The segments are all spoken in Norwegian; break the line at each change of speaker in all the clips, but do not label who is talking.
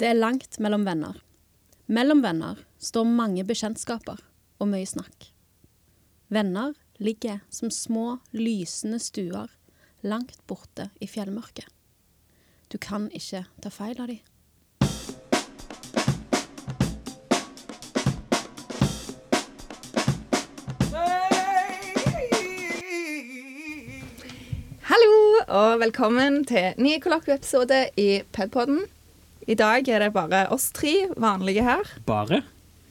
Det er langt mellom venner. Mellom venner står mange bekjentskaper og mye snakk. Venner ligger som små, lysende stuer langt borte i fjellmørket. Du kan ikke ta feil av dem.
Hallo, og velkommen til ny kollokvieepisode i Pedpodden. I dag er det bare oss tre vanlige her.
Bare?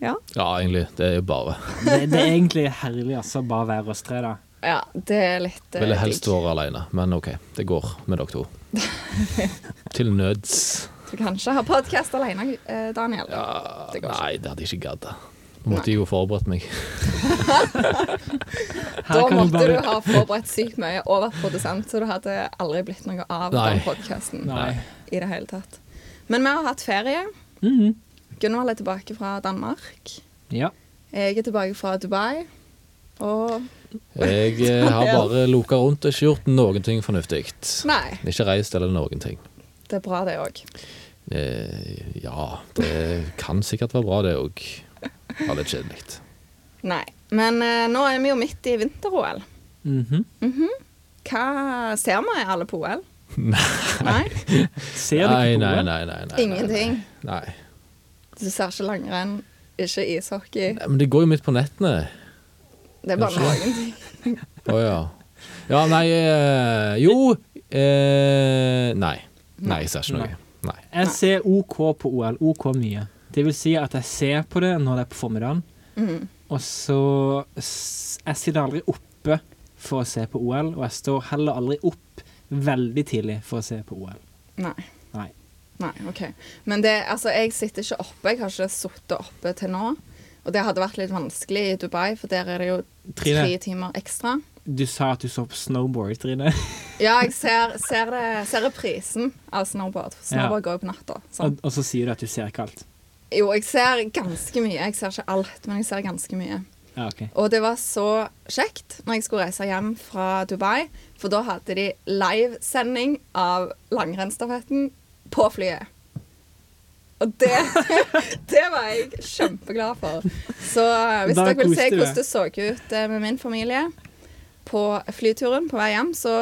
Ja,
Ja, egentlig. Det er jo bare.
Det, det er egentlig herlig, altså. Bare være oss tre, da.
ja det er litt eh,
Ville helst
digg.
vært alene, men OK. Det går med dere to. Til nøds.
Du kan ikke ha podkast alene, eh, Daniel. det går ikke.
Nei, det hadde jeg ikke gadd. Nå måtte jeg jo forberedt meg.
Da
Her kan du
måtte du
bare
ha forberedt sykt mye og vært produsent, så du hadde aldri blitt noe av
Nei.
den podkasten
Nei.
i det hele tatt. Men vi har hatt ferie.
Mhm.
Gunvald er tilbake fra Danmark.
Ja.
Jeg er tilbake fra Dubai. Og
Jeg eh, har bare loka rundt og ikke gjort noen ting fornuftig.
Nei,
Ikke reist eller noen ting.
det er bra, det òg.
Eh, ja, det kan sikkert være bra, det òg. Ja, litt kjedelig.
Nei. Men eh, nå er vi jo midt i vinter-OL.
Mhm.
Hva ser vi alle på OL? Nei.
Ser du
Nei,
ikke
nei,
gode?
nei. nei, nei
Ingenting.
Nei. nei.
Du ser ikke langrenn, ikke ishockey.
Nei, Men det går jo midt på nettene.
Det er bare
Kanskje.
noen ting.
Å ja. Ja, nei eh, Jo eh, Nei. Nei, jeg ser ikke noe. Nei.
Jeg ser OK på OL. OK mye. Det vil si at jeg ser på det når det er på formiddagen,
Mhm.
og så s- Jeg sitter aldri oppe for å se på OL, og jeg står heller aldri opp veldig tidlig for å se på OL.
Nei.
Nei.
Nei, OK. Men det, altså, jeg sitter ikke oppe. Jeg har ikke sittet oppe til nå. Og det hadde vært litt vanskelig i Dubai, for der er det jo
Trine.
tre timer ekstra.
Du sa at du så på snowboard, Trine.
Ja, jeg ser, ser, det, ser reprisen av snowboard. For snowboard går jo på natta. sant?
Og, og så sier du at du ser ikke alt.
Jo, jeg ser ganske mye. Jeg ser ikke alt, men jeg ser ganske mye.
Ja, OK.
Og det var så kjekt når jeg skulle reise hjem fra Dubai, for da hadde de livesending av langrennsstafetten på flyet. Og det, det var jeg kjempeglad for. Så eh, hvis
Da
dere vil se
koste du
hvordan
deg.
det så ut eh, med min familie på flyturen på vei hjem, så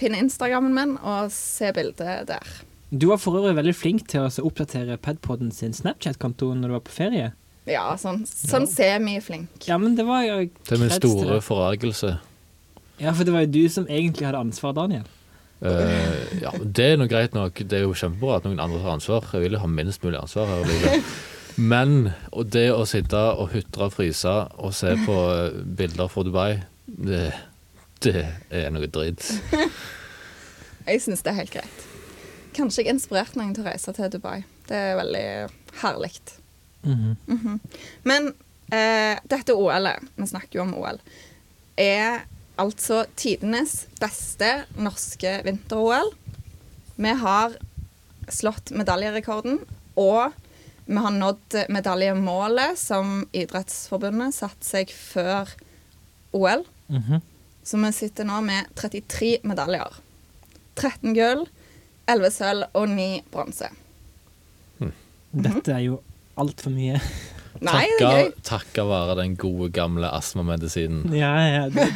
finn Instagrammen min og se bildet der.
Du var for øvrig veldig flink til å så oppdatere Padpodden sin Snapchat-konto når du var på ferie.
Ja, sånn, sånn semi-flink.
Ja, men det var jo
Til min
kreds
store
det.
forargelse.
Ja, for det var jo du som egentlig hadde ansvar, Daniel.
Eh, ja, det er nå greit nok. Det er jo kjempebra at noen andre tar ansvar. Jeg vil jo ha minst mulig ansvar her i livet. Men og det å sitte og hutre og fryse og se på eh, bilder fra Dubai, det, det er noe dritt.
Jeg syns det er helt greit. Kanskje jeg inspirerte noen til å reise til Dubai. Det er veldig herlig.
Mhm,
Men eh, dette OL-et, vi snakker jo om OL, er altså tidenes beste norske vinter-OL. Vi har slått medaljerekorden, og vi har nådd medaljemålet som Idrettsforbundet satte seg før OL.
mhm.
Så vi sitter nå med 33 medaljer. 13 gull, 11 sølv og 9 bronse.
Dette er jo altfor mye.
Nei, det er gøy.
Takka, takka være den gode, gamle astmamedisinen.
Ja, ja. Det,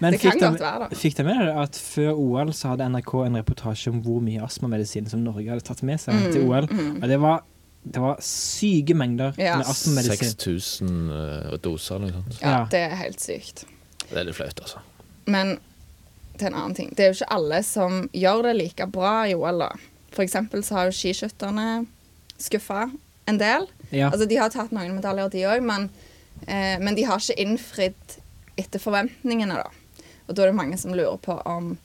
men
Det kan
fikk de-
godt være, da.
Fikk de med deg at før OL så hadde NRK en reportasje om hvor mye astmamedisin som Norge hadde tatt med seg
Mm,
til OL? Og det var, det var syke mengder
Ja.
med astmamedisin.
6000 eh, doser eller noe sånt.
Ja,
Ja.
det er helt sykt.
Det er litt flaut, altså.
Men til en annen ting. Det er jo ikke alle som gjør det like bra i OL, da. For eksempel så har jo skiskytterne skuffa en del.
Ja.
Altså, de har tatt noen medaljer, de òg, men, eh, men de har ikke innfridd etter forventningene, da. Og da er det mange som lurer på om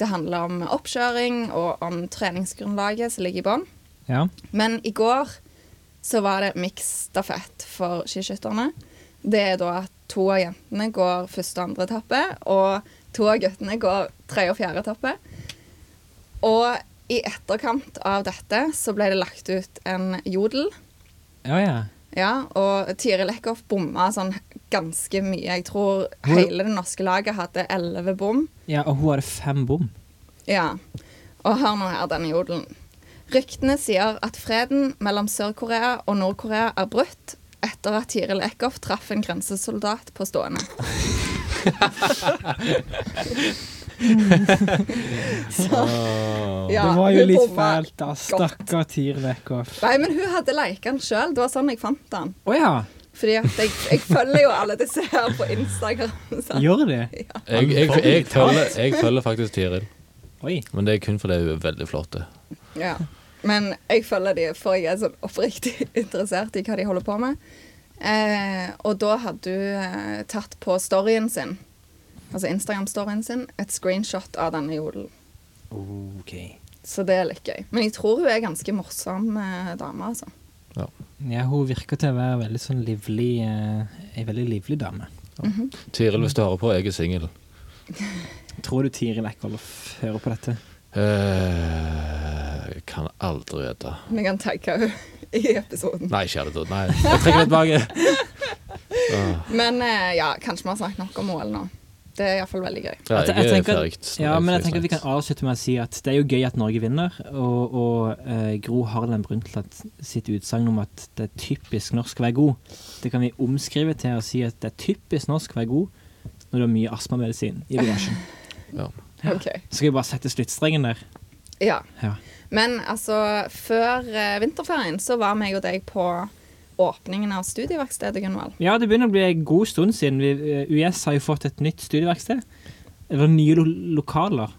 det handler om oppkjøring og om treningsgrunnlaget som ligger i bånn.
Ja.
Men i går så var det miksstafett for skiskytterne. Det er da at to av jentene går første og andre etappe, og to av guttene går tredje og fjerde etappe. Og i etterkant av dette så ble det lagt ut en jodel.
ja, ja.
Ja, og Tiril Eckhoff bomma sånn ganske mye. Jeg tror
Hvor-
hele det norske laget hadde elleve bom.
Ja, og hun hadde fem bom.
Ja. Og hør nå her, denne jodelen. Ryktene sier at freden mellom Sør-Korea og Nord-Korea er brutt etter at Tiril Eckhoff traff en grensesoldat på stående. Så, ja,
det var jo
hun
litt
bomma.
fælt, da. Stakkar Tiril Eckhoff.
Nei, men hun hadde leket den sjøl. Det var sånn jeg fant den.
Å ja.
Fordi at jeg, jeg følger jo alle disse her på Instagram. sant?
Gjør de?
Jeg, jeg, jeg, jeg, følger, jeg følger faktisk Tiril,
Oi.
men det er kun fordi hun er veldig flott.
Ja. Men jeg følger de, for jeg er sånn oppriktig interessert i hva de holder på med. Eh, og da hadde hun eh, tatt på storyen sin, altså Instagram-storyen sin, et screenshot av denne jodelen.
OK.
Så det er litt gøy. Men jeg tror hun er ganske morsom eh, dame, altså.
Ja, hun virker til å være veldig sånn livlig eh, Ei veldig livlig dame.
Tiril, hvis du hører på, jeg er singel.
Tror du Tiril Eckhoff hører på dette?
Eh, jeg kan aldri vite.
Vi kan tagge henne i episoden.
Nei, kjære Nei, jeg trekker det tilbake. Ah,
Men eh, ja, kanskje vi har snakket nok om OL nå. Det er iallfall veldig gøy.
ja,
Jeg
jeg er
tenker-
ferdig.
Ja, men jeg tenker vi kan avslutte med å si at det er jo gøy at Norge vinner, og, og eh, Gro Harlem Brundtland sitt utsagn om at det er typisk norsk å være god, det kan vi omskrive til å si at det er typisk norsk å være god når du har mye astmamedisin i bagasjen.
Ok.
Skal vi bare sette sluttstrengen der?
Ja.
Ja.
Men altså, før eh, vinterferien så var meg og deg på åpningen av studieverkstedet, Gunvald.
Ja, det begynner å bli en god stund siden. Vi, eh, UiS har jo fått et nytt studieverksted. Eller nye lo lokaler.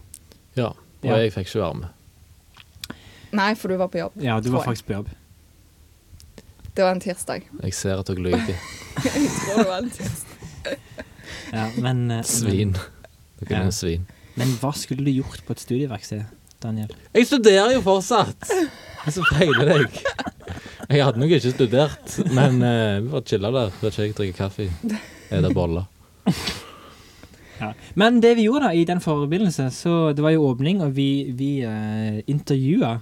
Ja, og
Ja.
jeg fikk ikke være med.
Nei, for du var på jobb.
Ja, du
tror
var
jeg.
faktisk på jobb.
Det var en tirsdag.
Jeg ser at dere lyver.
Jeg tror det var en tirsdag.
Ja, men, eh,
Svin. Dere er
Ja.
noen svin.
Men, men hva skulle du gjort på et studieverksted, Daniel?
Jeg studerer jo fortsatt! Hva som feiler deg? Jeg hadde nok ikke studert, men eh, vi bare chilla der. Vet ikke jeg drikker kaffe. Er det boller?
Ja. Men det vi gjorde da, i den forbindelse, så det var jo åpning, og vi, vi eh, intervjua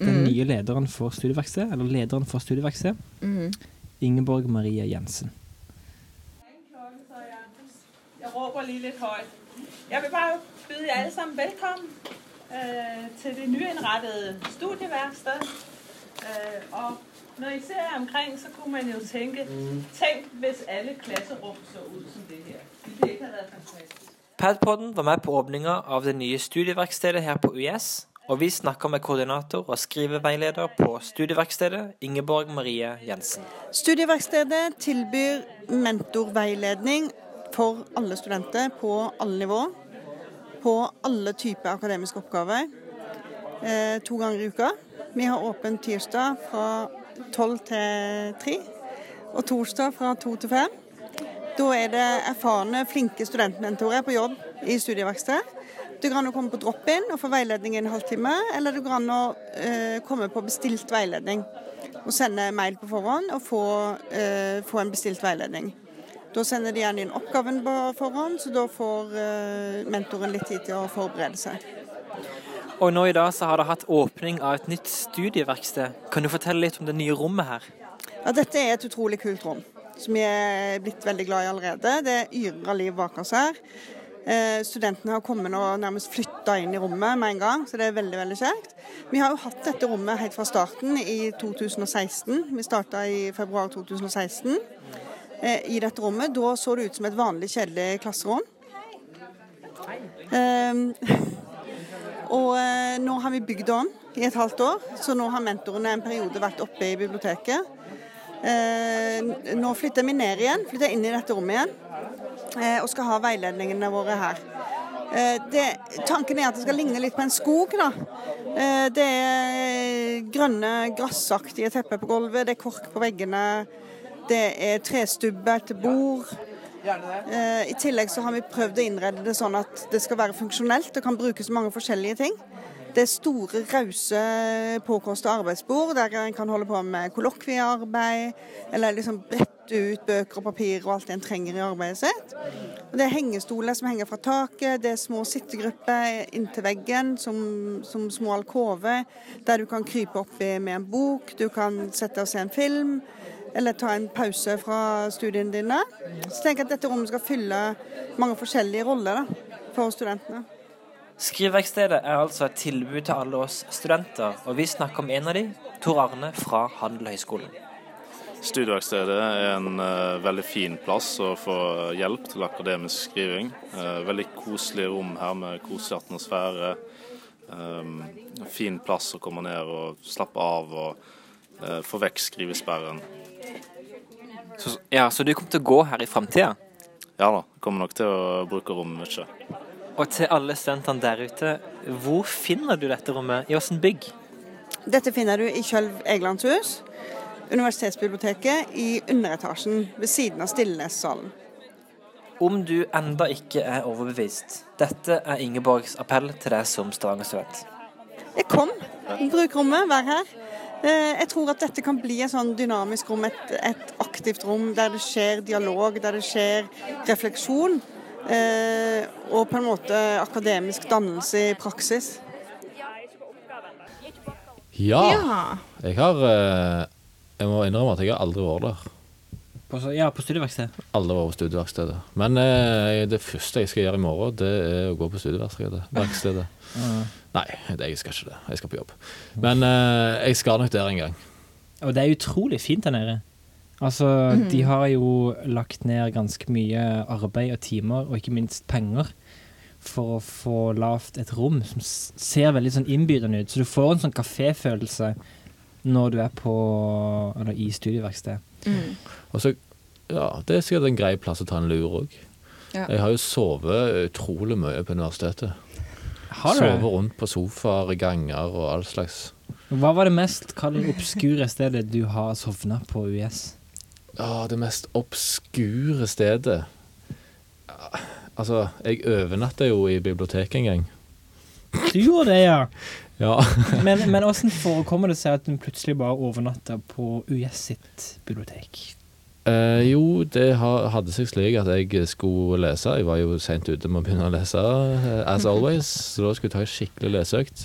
den nye lederen for studieverkstedet, eller lederen for studieverkstedet,
Mm.
Ingeborg Marie Jensen.
Så jeg, jeg råber lige lidt højt. Jeg vil bare byde jer alle sammen velkommen øh, til det nyindrettede studieværksted. Øh, og når I ser jer omkring, så kunne man jo tænke, tænk hvis alle klasserum så ud som det her. Ville det ikke have været fantastisk?
Padpodden var med på åpninga av det nye studieverkstedet her på UiS, og vi snakker med koordinator og skriveveileder på studieverkstedet, Ingeborg Marie Jensen.
Studieverkstedet tilbyr mentorveiledning for alle studenter på alle nivå. På alle typer akademiske oppgaver. eh, To ganger i uka. Vi har åpent tirsdag fra tolv til tre. Og torsdag fra to til fem. Da er det erfarne, flinke studentmentorer på jobb i studieverkstedet. Du kan jo komme på drop-in og få veiledning i en halvtime, eller du kan jo eh, komme på bestilt veiledning og sende mail på forhånd og få, eh, få en bestilt veiledning. Da sender de gjerne inn oppgaven på forhånd, så da får eh, mentoren litt tid til å forberede seg.
Og nå i dag så har dere hatt åpning av et nytt studieverksted. Kan du fortelle litt om det nye rommet her?
Ja, dette er et utrolig kult rom, som vi er blitt veldig glad i allerede. Det yrer av liv bak oss her. Eh, studentene har kommet og nærmest flytta inn i rommet med en gang, så det er veldig veldig kjekt. Vi har jo hatt dette rommet helt fra starten i 2016. Vi starta i februar 2016. Eh, I dette rommet da så det ut som et vanlig kjedelig klasserom. Eh, og eh, nå har vi bygd om i et halvt år, så nå har mentorene en periode vært oppe i biblioteket. Eh, n- nå flytter vi ned igjen, flytter inn i dette rommet igjen, eh, og skal ha veiledningene våre her. Eh, det, tanken er at det skal ligne litt på en skog. da. Eh, det er grønne, grassaktige tepper på gulvet, det er kork på veggene, det er trestubber til bord. Eh, I tillegg så har vi prøvd å innrede det sånn at det skal være funksjonelt og kan brukes mange forskjellige ting. Det er store, rause, påkosta arbeidsbord der en kan holde på med kollokviearbeid, eller liksom brette ut bøker og papir og alt en trenger i arbeidet sitt. Og det er hengestoler som henger fra taket, det er små sittegrupper inntil veggen som, som små alkover, der du kan krype oppi med en bok, du kan sette og se en film eller ta en pause fra studiene dine. Så tenk at dette rommet skal fylle mange forskjellige roller da, for studentene.
Skriveverkstedet er altså et tilbud til alle oss studenter, og vi snakker om en av de, Tor Arne fra Handelhøyskolen.
Studieverkstedet er en eh, veldig fin plass å få hjelp til akademisk skriving. Eh, veldig koselig rom her med koselig atmosfære. Um, fin plass å komme ned og slappe av og eh, få vekk skrivesperren.
Så, ja, så du kommer til å gå her i framtida?
Ja da, kommer nok til å bruke rommet mye.
Og til alle studentene der ute, hvor finner du dette rommet? I åssen bygg?
Dette finner du i Kjølv Egelands hus, universitetsbiblioteket, i underetasjen ved siden av Stillnessalen.
Om du enda ikke er overbevist, dette er Ingeborgs appell til deg som Stavanger-student.
Jeg kom. Bruk rommet, vær her. Eh, Jeg tror at dette kan bli et sånn dynamisk rom, et, et aktivt rom der det skjer dialog, der det skjer refleksjon. eh, Og på en måte akademisk dannelse i praksis.
Ja!
Ja.
Jeg har eh, Jeg må innrømme at jeg har aldri vært der.
På, så- ja, på studieverksted.
Aldri vært på studieverkstedet. Men eh, det første jeg skal gjøre i morgen, det er å gå på studieverkstedet. Verkstedet. Nei, det, jeg skal ikke det. Jeg skal på jobb. Men eh, jeg skal nok der en gang.
Og det er utrolig fint der nede. Altså, de har jo lagt ned ganske mye arbeid og timer, og ikke minst penger, for å få lavt et rom som s- ser veldig sånn innbydende ut. Så du får en sånn kaféfølelse når du er på, eller i studieverksted.
Og så, ja, Det er sikkert en grei plass å ta en lur òg.
Ja.
Jeg har jo sovet utrolig mye på universitetet.
Har du
Sovet
det?
rundt på sofaer, ganger og all slags.
Hva var det mest kall det obskure stedet du har sovna på UiS?
Å, Ah, det mest obskure stedet Ja, Altså, jeg overnatta jo i biblioteket en gang.
Du gjorde det, ja.
Ja.
Men, men hvordan forekommer det seg at hun plutselig bare overnatter på UiS sitt bibliotek?
Eh, jo, det ha- hadde seg slik at jeg skulle lese. Jeg var jo seint ute med å begynne å lese, eh, as always, så da skulle jeg ta en skikkelig leseøkt.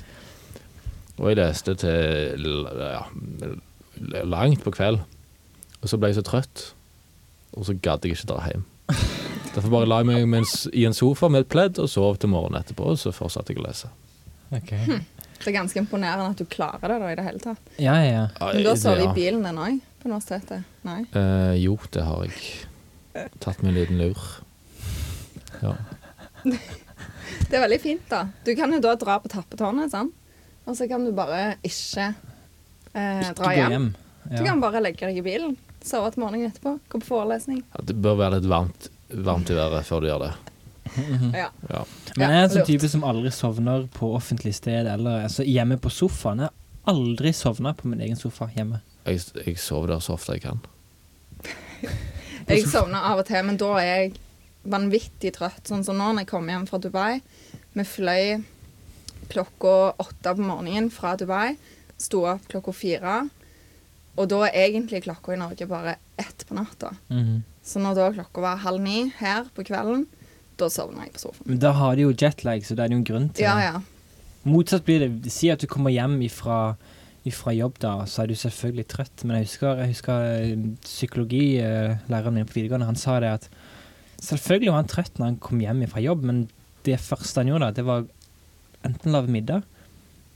Og jeg leste til l- ja, l- langt på kveld. Og så ble jeg så trøtt, og så gadd jeg ikke dra hjem. Derfor bare la jeg meg med en, s- i en sofa med et pledd og sov til morgenen etterpå, og så fortsatte jeg å lese.
Okay.
Det er ganske imponerende at du klarer det da, i det hele tatt.
Ja, ja, ja.
Men du har sovet i bilen din òg på universitetet? Nei.
Eh, jo, det har jeg. Tatt meg en liten lur. Ja.
Det er veldig fint, da. Du kan jo da dra på tappetårnet, sant? og så kan du bare ikke eh,
Ikke
dra
gå
hjem. Du
Ja.
kan bare legge deg i bilen, sove til morgenen etterpå, gå på forelesning.
Ja, det bør være litt varmt, varmt i været før du gjør det.
Ja.
Ja.
Men jeg er en sånn
lurt.
type som aldri sovner på offentlig sted eller altså, hjemme på sofaen. Jeg har aldri sovna på min egen sofa hjemme.
Jeg, jeg sover der så ofte jeg kan.
Jeg sovner av og til, men da er jeg vanvittig trøtt. Sånn som nå når jeg kom hjem fra Dubai. Vi fløy klokka åtte på morgenen fra Dubai. Sto opp klokka fire. Og da er egentlig klokka i Norge bare ett på natta. Så når da klokka var halv ni her på kvelden, da sovner jeg på sofaen.
Men da har de jo jetlag, så det er det jo en grunn til
Ja,
det.
ja.
Motsatt blir det. Si at du kommer hjem ifra, ifra jobb, da, så er du selvfølgelig trøtt. Men jeg husker, jeg husker eh, psykologilæreren min på videregående, han sa det at selvfølgelig var han trøtt når han kom hjem ifra jobb, men det første han gjorde, da, det var enten lage middag,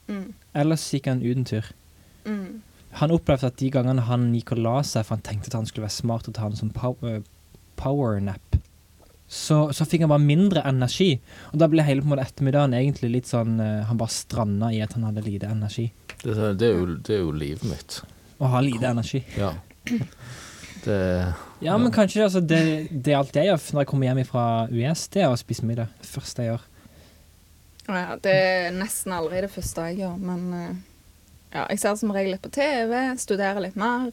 Mm.
eller så gikk han ut en tur.
Mm.
Han opplevde at de gangene han gikk og la seg, for han tenkte at han skulle være smart og ta en sånn power, powernap, så, så fikk han bare mindre energi. Og da ble hele på en måte ettermiddagen egentlig litt sånn eh, Han bare stranda i at han hadde lite energi.
Det, er sånn- det, er, jo, det er jo livet mitt.
Å ha lite energi.
Ja. Det,
Ja, men kanskje det, altså, det, det er alt jeg gjør når jeg kommer hjem fra US, det er å spise middag. Det første jeg gjør.
Ja, ja, det er nesten aldri det første jeg gjør, men eh, ja, jeg ser som regel litt på TV, studerer litt mer,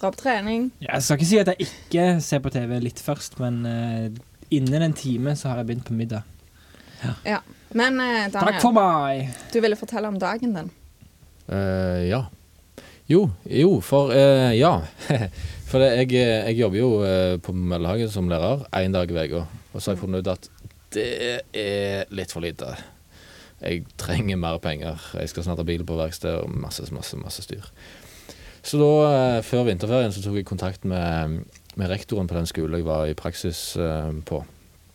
drar på trening.
Jeg skal ikke si at jeg ikke ser på TV litt først, men eh, innen en time så har jeg begynt på middag.
Ja. Men eh,
Takk for
Daniel,
meg!
du ville fortelle om dagen din.
eh, ja. Jo, jo, for eh, Ja. For det, jeg, jeg jobber jo eh, på Møllehagen som lærer én dag i uka, og så har jeg funnet ut at det er litt for lite. Jeg trenger mer penger. Jeg skal snart ha bil på verksted og masse, masse, masse styr. Så da, eh, før vinterferien, så tok jeg kontakt med, med rektoren på den skolen jeg var i praksis eh, på,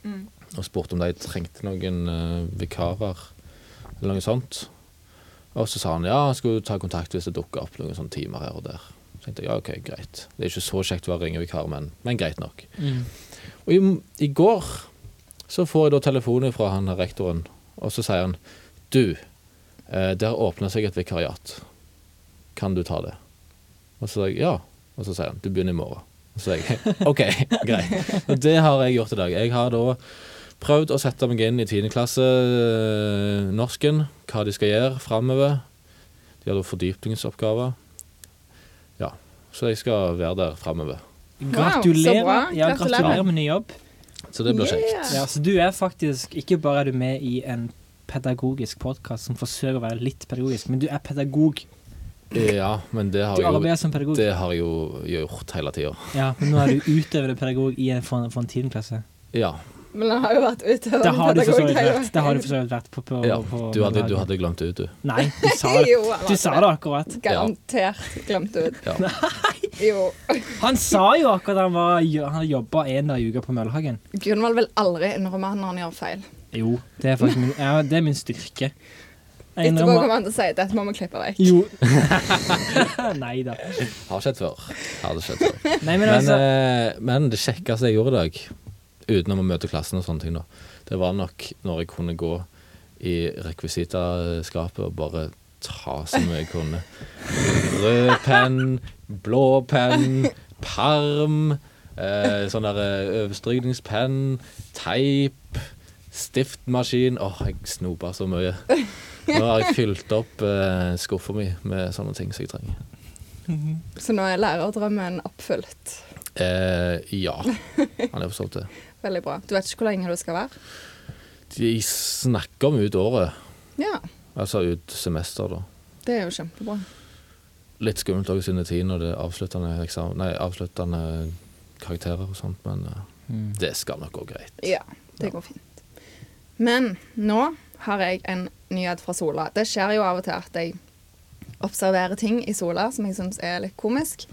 og spurte om de trengte noen eh, vikarer eller noe sånt. Og så sa han ja, han skulle ta kontakt hvis det dukka opp noen sånne timer her og der. Så tenkte jeg ja, OK, greit. Det er ikke så kjekt å være ringevikar, men, men greit nok. Og i, i går så får jeg da telefonen fra han her rektoren, og så sier han du, eh, det har åpna seg et vikariat. Kan du ta det? Og så sa jeg ja. Og så sier han du begynner i morgen. Og så sa jeg OK, greit. Og det har jeg gjort i dag. Jeg har da prøvd å sette meg inn i 10. klasse eh, norsken, hva de skal gjøre framover. De har da fordypningsoppgaver. Ja. Så jeg skal være der framover.
så bra.
Gratulerer. Ja,
Gratulerer.
gratulerer med ny jobb.
Så det blir kjekt.
Ja, så du er faktisk Ikke bare er du med i en pedagogisk podkast som forsøker å være litt pedagogisk, men du er pedagog.
Ja, men det har
Du
jeg jo,
arbeider som pedagog.
det har jeg jo gjort hele tida.
Ja, men nå er du utøvende pedagog i en, for, en- for en tiendeklasse.
Ja.
Men han har jo vært utøvende
Det har du for så vidt
hele
vært. Det har du for så vidt vært på, på,
ja.
på
Du, hadde, du hadde glemt det ut, du.
Nei, du sa det.
Jo, han
Du
hadde
sa
det.
det akkurat.
Garantert glemt ut.
Ja.
Jo.
Han sa jo akkurat han var Han jobba en dag i uka på Møllehagen.
Gunvald vil aldri innrømme når han gjør feil.
Jo, det er faktisk min, ja, det er min styrke. Jeg
Etterpå
innrømmer-
kommer han til å si dette må vi klippe vekk.
Jo. Nei da.
Har skjedd før. Har det skjedd før.
Nei, men
Men,
altså
eh, men det kjekkeste jeg gjorde i dag, utenom å møte klassen og sånne ting, da, det var nok når jeg kunne gå i rekvisitaskapet og bare ta så mye jeg kunne. Rød penn, blå penn, perm, eh, sånn der eh, overstrykningspenn, teip, stiftmaskin Åh, jeg snopa så mye. Nå har jeg fylt opp eh, skuffa mi med sånne ting som jeg trenger.
Så nå er lærerdrømmen oppfylt.
Eh, ja, han er for så vidt det.
Veldig bra. Du vet ikke hvor lenge du skal være?
De snakker om ut året,
Ja,
altså ut semester, da.
det er jo kjempebra.
Litt skummelt også siden det er tid når det er avsluttende, eksamen, nei, avsluttende karakterer og sånt, men eh,
Mm.
det skal nok gå greit.
Ja, det går fint. Men nå har jeg en nyhet fra Sola. Det skjer jo av og til at jeg observerer ting i Sola som jeg syns er litt komisk.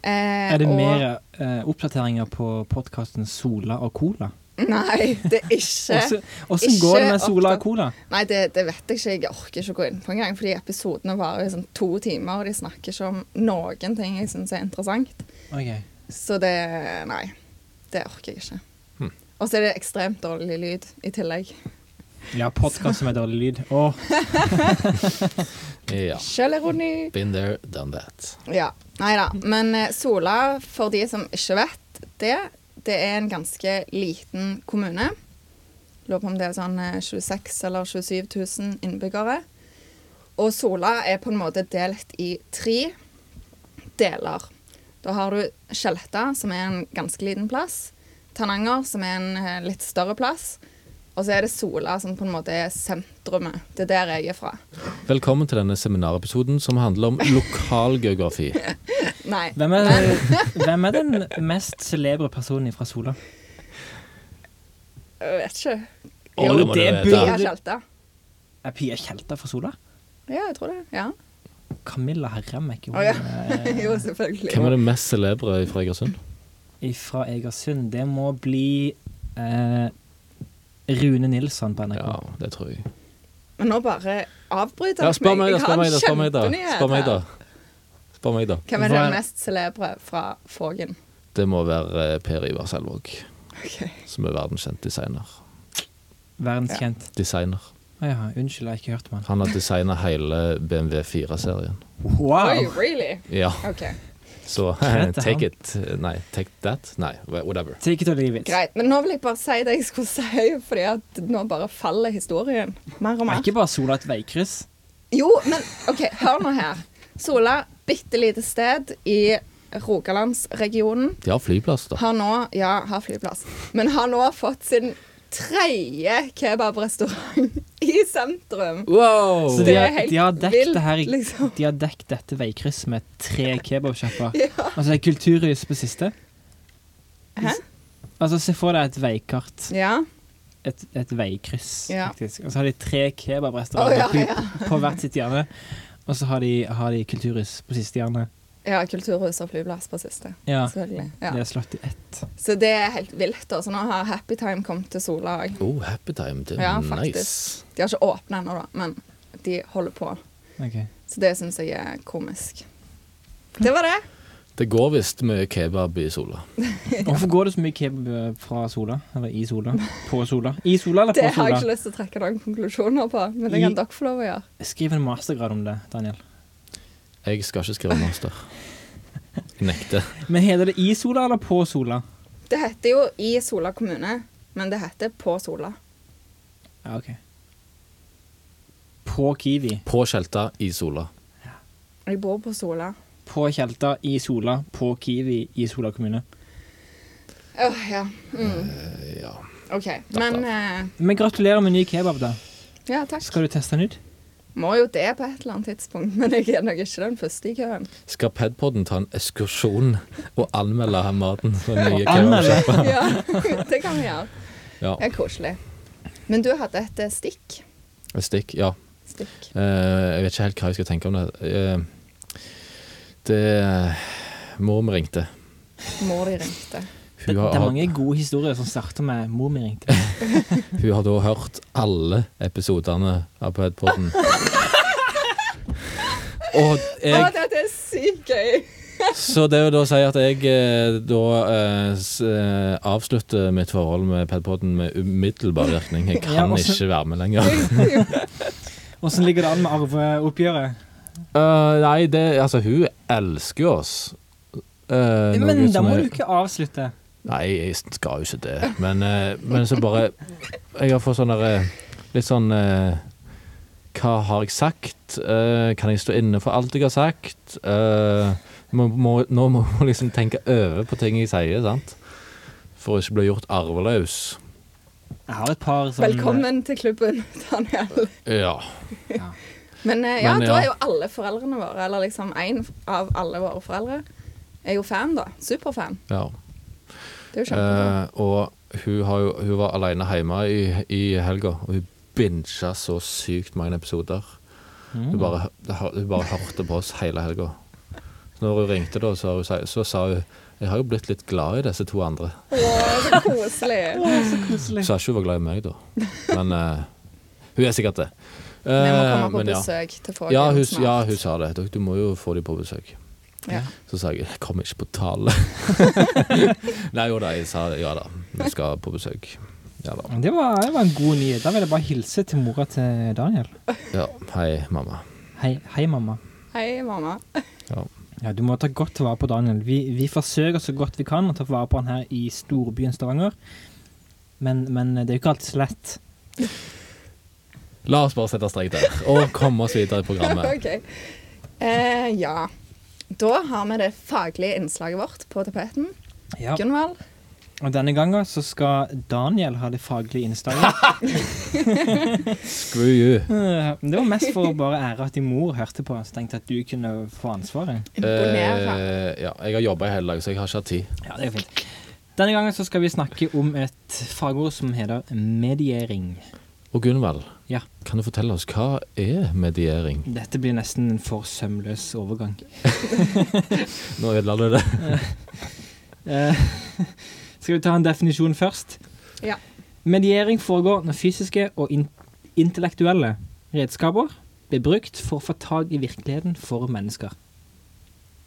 Eh,
Er det
og-
mer eh, oppdateringer på podkasten Sola og Cola?
Nei, det er ikke.
Åssen åssen går det
ikke
med Sola og
oppdat-
Cola?
Nei, det, det vet jeg ikke. Jeg orker ikke å gå inn på engang. Fordi episodene varer jo sånn to timer, og de snakker ikke om noen ting jeg syns er interessant.
Ok.
Så det Nei. Det orker jeg ikke. Og så er det ekstremt dårlig lyd i tillegg.
Ja, podkast som er dårlig lyd. Åh,
Ja.
Selvironi.
Been there, done that.
Ja. Nei da. Men eh, Sola, for de som ikke vet det, det er en ganske liten kommune. Lurer på om det er sånn eh, 26 eller 27 000 innbyggere. Og Sola er på en måte delt i tre deler. Da har du Skjelstad, som er en ganske liten plass. Tananger, som er en eh, litt større plass. Og så er det Sola, som på en måte er sentrumet. Det er der jeg er fra.
Velkommen til denne seminarepisoden som handler om lokalgeografi.
Nei.
hvem, er, hvem er den mest celebre personen fra Sola?
Jeg vet ikke.
Jo,
Å, det må du
det
vite.
burde-
Pia Skjelta.
Er Pia Tjelta fra Sola?
Ja, jeg tror det. Ja.
Camilla Herremek
Å, ja.
oh,
jo, selvfølgelig.
Eh, Hvem er det mest celebre fra Egersund?
fra Egersund. Det må bli eh, Rune Nilsson på NRK.
Ja, det tror jeg.
Men nå bare avbryter
Ja, spør meg, da.
Jeg har
Spør meg,
en
da. Spør meg, da.
kjempenyhet
Spør meg, da.
her.
Spør meg, da.
Hvem er det
Hva-
mest celebre fra Fågen?
Det må være eh, Per Ivar Selvåg,
Ok.
som er verdenskjent designer.
Verdenskjent.
Designer.
Å ja, unnskyld, jeg har ikke hørt om han.
Han har designa hele BMW 4-serien. Ah.
Oi,
Wow!
really?
Ja,
Ok,
så eh,
heter
take
han?
it eh, Nei, take that? Nei, whatever.
Take it or leave it.
Greit. Men nå vil jeg bare si det jeg skulle si, fordi at nå bare faller historien mer og
Er
mer.
ikke bare Sola et veikryss?
Jo, men OK, hør nå her. Sola, bitte lite sted i Rogalandsregionen.
De har flyplass, da.
har nå Ja, har flyplass. Men har nå fått sin tredje kebabrestaurant i sentrum.
Wow!
Så
Det
de
er
har,
helt
de har dekket
vilt,
det her i-
liksom.
De har dekket dette veikrysset med tre kebabsjapper. Altså det er kulturhus på siste.
Hæ?
Altså Se for deg et veikart.
Ja.
Et, et veikryss,
Ja.
faktisk. Og så har de tre
Å,
kebabrestauranter
ja,
på-
ja.
på hvert sitt hjørne. Og så har de, har de kulturhus på siste hjørne.
Ja, kulturhus og flyplass på siste.
Ja.
Selvfølgelig.
Det
Ja.
er slått i ett.
Så det er helt vilt. da. Så nå har Happy Time kommet til Sola òg.
Oh, happy time. Det er
Ja,
nice.
faktisk. De har ikke åpna ennå, da, men de holder på.
Ok.
Så det syns jeg er komisk. Det var det.
Det går visst mye kebab i sola.
Hvorfor går det så mye kebab eh, fra Sola? Eller i Sola? På Sola? I Sola eller på
Det har jeg ikke
Sola?
lyst til å trekke noen konklusjoner på, men det
I-
kan dere få lov å gjøre.
Skriv en mastergrad om det, Daniel.
Jeg skal ikke skrive master. Jeg nekter.
Men heter det i Sola eller på Sola?
Det heter jo i Sola kommune, men det heter på Sola.
Ja, ok. På Kiwi.
På Skjelta i sola.
Jeg bor på Sola.
På Tjelta, i Sola, på Kiwi, i Sola kommune.
Åh, ja. Mm.
ja.
OK. Men eh,
Men gratulerer med ny kebab, da.
Ja, takk.
Skal du teste den ut?
Må jo det på et eller annet tidspunkt, men jeg er nok ikke den første i køen.
Skal Pedpodden ta en ekskursjon og anmelde her maten? For nye
Anmelde?
kebabsjapper?
Ja, det kan vi gjøre.
Ja.
Det er koselig. Men du hadde et eh, stikk.
Et Stikk, ja.
stikk.
Eh, jeg vet ikke helt hva jeg skal tenke om det. Eh, det Mor vi ringte.
Mor de ringte.
Hun
Det, det
har,
er mange gode historier som starter med 'mor mi ringte'.
hun har da hørt alle episodene av E Pedpodden. Og
Å,
jeg
dette er sykt gøy!
Så det å da si at jeg eh, da eh, s- eh, avslutter mitt forhold med Padpodden med umiddelbar virkning. Jeg
Ja,
kan
og så-
ikke være med lenger.
Åssen ligger det an med arveoppgjøret?
Eh, nei, det Altså, hun elsker jo oss. Eh, noe
Men da
som
må
er-
du ikke avslutte.
Nei, jeg skal jo ikke det. Men, eh, men så bare Jeg har fått sånn derre Litt sånn eh, Hva har jeg sagt? Eh, kan jeg stå inne for alt jeg har sagt? Eh, må, må, nå må man liksom tenke over på ting jeg sier, sant? For å ikke bli gjort arveløs.
Jeg har et par som
Velkommen til klubben, Daniel.
Ja.
Men eh, ja,
Men, ja.
da er jo alle foreldrene våre, eller liksom én av alle våre foreldre, er jo fan, da. Superfan.
ja.
Det er jo kjempebra.
Eh, og hun, har jo, hun var alene hjemme i, i helga, og hun bincha så sykt mange episoder.
Mm.
Hun, bare, hø- hun bare hørte på oss hele helga. Så Når hun ringte, da, så, har hun, sagt- så sa hun jeg har jo blitt litt glad i disse to andre.
Å, så koselig.
Hun sa ikke hun var glad i meg, da. Men eh, hun er sikkert det.
Vi må
Eh,
komme på
men ja.
besøk til Fågen
Ja hun,
snart.
ja, hun sa det. Du, du må jo få dem på besøk.
Ja.
Så sa jeg jeg kommer ikke på tale. Nei jo da, jeg sa ja da. Vi skal på besøk. Ja da.
Det var, det var en god nyhet. Da vil jeg bare hilse til mora til Daniel.
Ja, hei, mamma.
Hei, hei mamma.
Hei, mamma.
Ja.
Ja, Du må ta godt vare på Daniel. Vi, vi forsøker så godt vi kan å ta vare på han her i storbyen Stavanger. Men, men det er jo ikke alltid så lett.
La oss bare sette strek der, og komme oss videre i programmet.
OK. Eh, ja. Da har vi det faglige innslaget vårt på tapeten.
Ja.
Gunvald,
Og denne gangen så skal Daniel ha det faglige innslaget.
Screw you.
Eh, Det var mest for å bare ære at din mor hørte på, så tenkte jeg at du kunne få ansvaret.
imponerer.
Eh, ja, jeg har jobba i hele dag, så jeg har ikke hatt tid.
Ja, det er jo fint. Denne gangen så skal vi snakke om et fagord som heter mediering.
Og Gunvald,
Ja.
kan du fortelle oss hva er mediering?
Dette blir nesten en for sømløs overgang.
Nå ødela du det.
Eh, Skal vi ta en definisjon først?
Ja.
Mediering foregår når fysiske og in intellektuelle redskaper blir brukt for å få tak i virkeligheten for mennesker.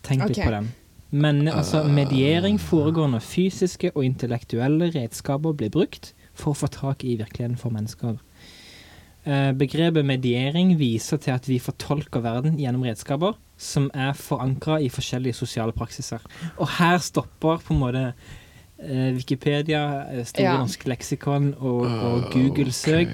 Tenk litt
Ok.
på den. Men altså, mediering foregår når fysiske og intellektuelle redskaper blir brukt for å få tak i virkeligheten for mennesker. Eh, Begrepet mediering viser til at vi fortolker verden gjennom redskaper som er forankra i forskjellige sosiale praksiser. Og her stopper på en måte eh, Wikipedia, eh, Store
Ja.
norske leksikon og, og Google-søk